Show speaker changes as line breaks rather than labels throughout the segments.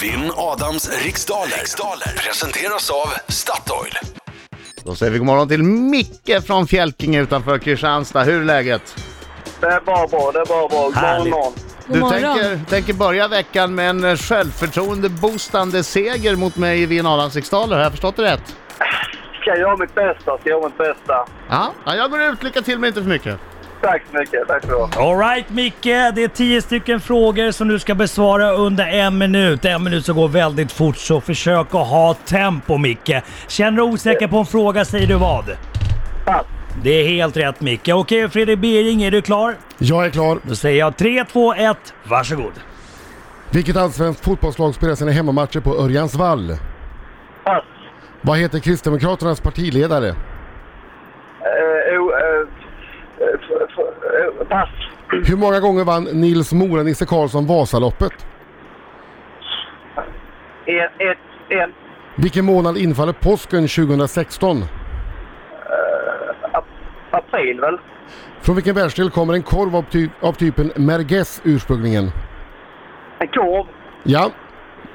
Vinn Adams riksdaler. riksdaler presenteras av Statoil.
Då säger vi god morgon till Micke från Fjälkinge utanför Kristianstad. Hur är läget?
Det är bara bra, det är bara bra. God
Härligt.
morgon.
Du
morgon.
tänker, tänker börja veckan med en eh, självförtroende-boostande seger mot mig i Vinn Adams riksdaler. Har jag förstått det rätt?
Ska jag göra mitt bästa, ska jag göra mitt bästa.
Ja, ja jag går ut. Lycka till men inte för mycket.
Tack så mycket, tack så mycket.
Alright Micke, det är tio stycken frågor som du ska besvara under en minut. En minut som går väldigt fort, så försök att ha tempo Micke. Känner du osäker på en fråga säger du vad?
Pass.
Det är helt rätt Micke. Okej Fredrik Bering, är du klar?
Jag är klar.
Då säger jag 3, 2, 1, varsågod.
Vilket allsvenskt fotbollslag spelar sina hemmamatcher på Örjansvall?
Pass.
Vad heter Kristdemokraternas partiledare?
Eh, o, eh, f- f- eh, pass.
Hur många gånger vann Nils Mora Nisse Karlsson Vasaloppet?
En, E, ett, en.
Vilken månad infaller påsken 2016?
April väl?
Från vilken världsdel kommer en korv av, ty- av typen merguez ursprungligen?
En korv.
Ja.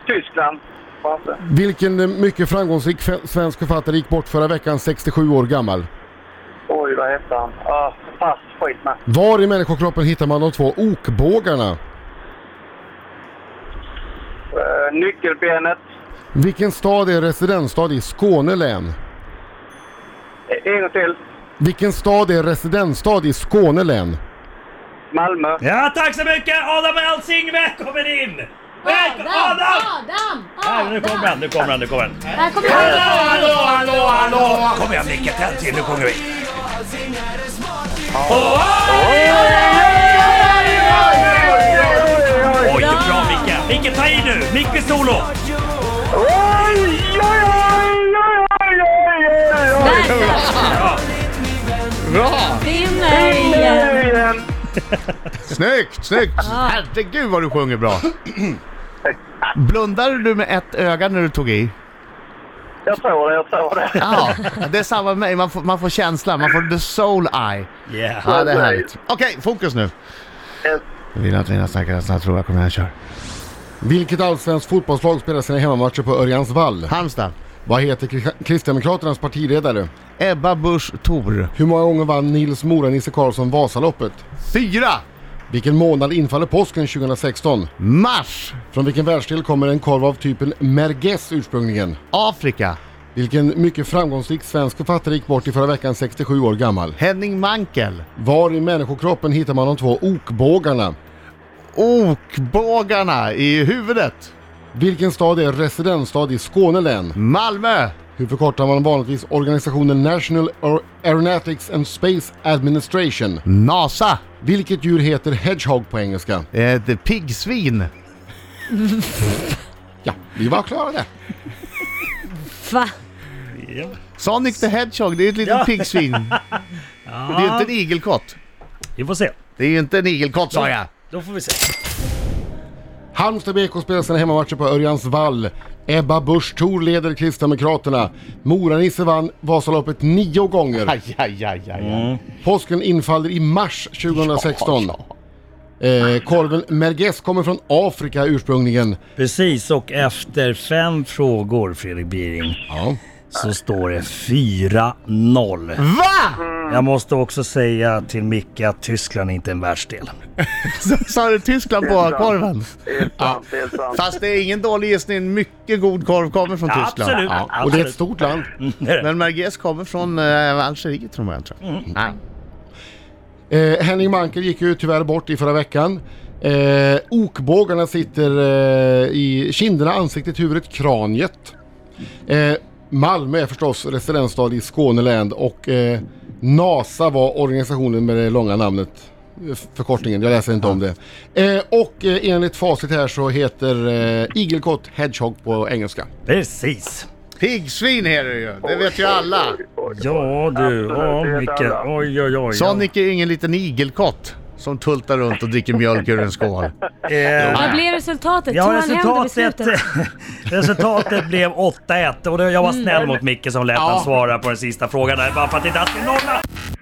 Tyskland. Fransö.
Vilken eh, mycket framgångsrik fe- svensk författare gick bort förra veckan 67 år gammal?
Oj, vad hette han? Ah, pass, skit med.
Var i människokroppen hittar man de två okbågarna?
Eh, nyckelbenet.
Vilken stad är residensstad i Skåne län?
Eh, En gång till.
Vilken stad är residensstad i Skåne län?
Malmö.
Ja, tack så mycket! Adam Alsing, välkommen in! Välkommen Adam!
Adam!
Ja, nu kommer han, nu kommer han, nu kommer han.
Här kommer han!
Hallå, hallå, hallå! Kom igen Micke, tänd till, nu sjunger vi. Oj, bra Micke! Micke, ta i nu! Micke solo!
Vinner igen!
Snyggt, snyggt! Herregud vad du sjunger bra! Blundade du med ett öga när du tog i?
Jag tror det, jag tror det.
Ja, det är samma med mig. Man får, man får känslan, man får the soul eye.
Yeah.
Ja, det är härligt. Okej, fokus nu.
Yes.
Vill att mina stackare snart tror jag kommer här kör.
Vilket allsvenskt fotbollslag spelar sina hemmamatcher på Örjansvall?
Halmstad.
Vad heter Kri- Kristdemokraternas partiledare?
Ebba Busch Thor.
Hur många gånger vann Nils Mora Nisse Karlsson Vasaloppet?
Fyra!
Vilken månad infaller påsken 2016?
Mars!
Från vilken världsdel kommer en korv av typen merguez ursprungligen?
Afrika.
Vilken mycket framgångsrik svensk författare gick bort i förra veckan 67 år gammal?
Henning Mankel.
Var i människokroppen hittar man de två okbågarna?
Okbågarna i huvudet.
Vilken stad är residensstad i Skåne län?
Malmö.
Hur förkortar man vanligtvis organisationen National Aer- Aeronautics and Space Administration?
NASA.
Vilket djur heter Hedgehog på engelska?
Ett piggsvin.
Ja, vi var klara där.
Va?
Sonic the Hedgehog, det är ju ett litet piggsvin. Det är ju inte en igelkott.
Vi får se.
Det är ju inte en igelkott sa jag.
Då får vi se.
Halmstad BK spelar sina hemmamatcher på Örjansvall. Ebba Busch Thor leder Kristdemokraterna. Moranisse vann Vasaloppet nio gånger.
Aj, aj, aj, aj.
Mm.
Påsken infaller i mars 2016. Eh, korven Merguez kommer från Afrika ursprungligen.
Precis, och efter fem frågor Fredrik Biring
Ja.
så står det 4-0.
Va?
Jag måste också säga till Micke att Tyskland är inte är en världsdel.
Så sa du Tyskland på korven?
Det är sant, det är sant.
Fast det är ingen dålig gissning. Mycket god korv kommer från
Ja,
Tyskland.
absolut.
Ja.
Och det är ett stort land.
Men Merguez kommer från eh, Algeriet tror jag. Tror jag. Ja.
Eh, Henning Mankel gick ju tyvärr bort i förra veckan. Eh, okbågarna sitter eh, i kinderna, ansiktet, huvudet, kraniet. Eh, Malmö är förstås residensstad i Skåneland och eh, NASA var organisationen med det långa namnet. eh, Förkortningen, jag läser inte om det. Eh, och eh, enligt facit här så heter eh, igelkott Hedgehog på engelska.
Precis.
Piggsvin är det ju, det vet ju alla.
Ja du, ja
Absolut, det är
Micke.
alla.
Oj oj oj.
Sonic är ju ingen liten igelkott som tultar runt och dricker mjölk ur en skål.
Eh,
Vad blev resultatet? Tog
Ja,
han hem dem i
resultatet,
slutet?
resultatet blev 8-1 och det- jag var snäll mot Micke som lät han svara på den sista frågan där bara för att det inte skulle nolla.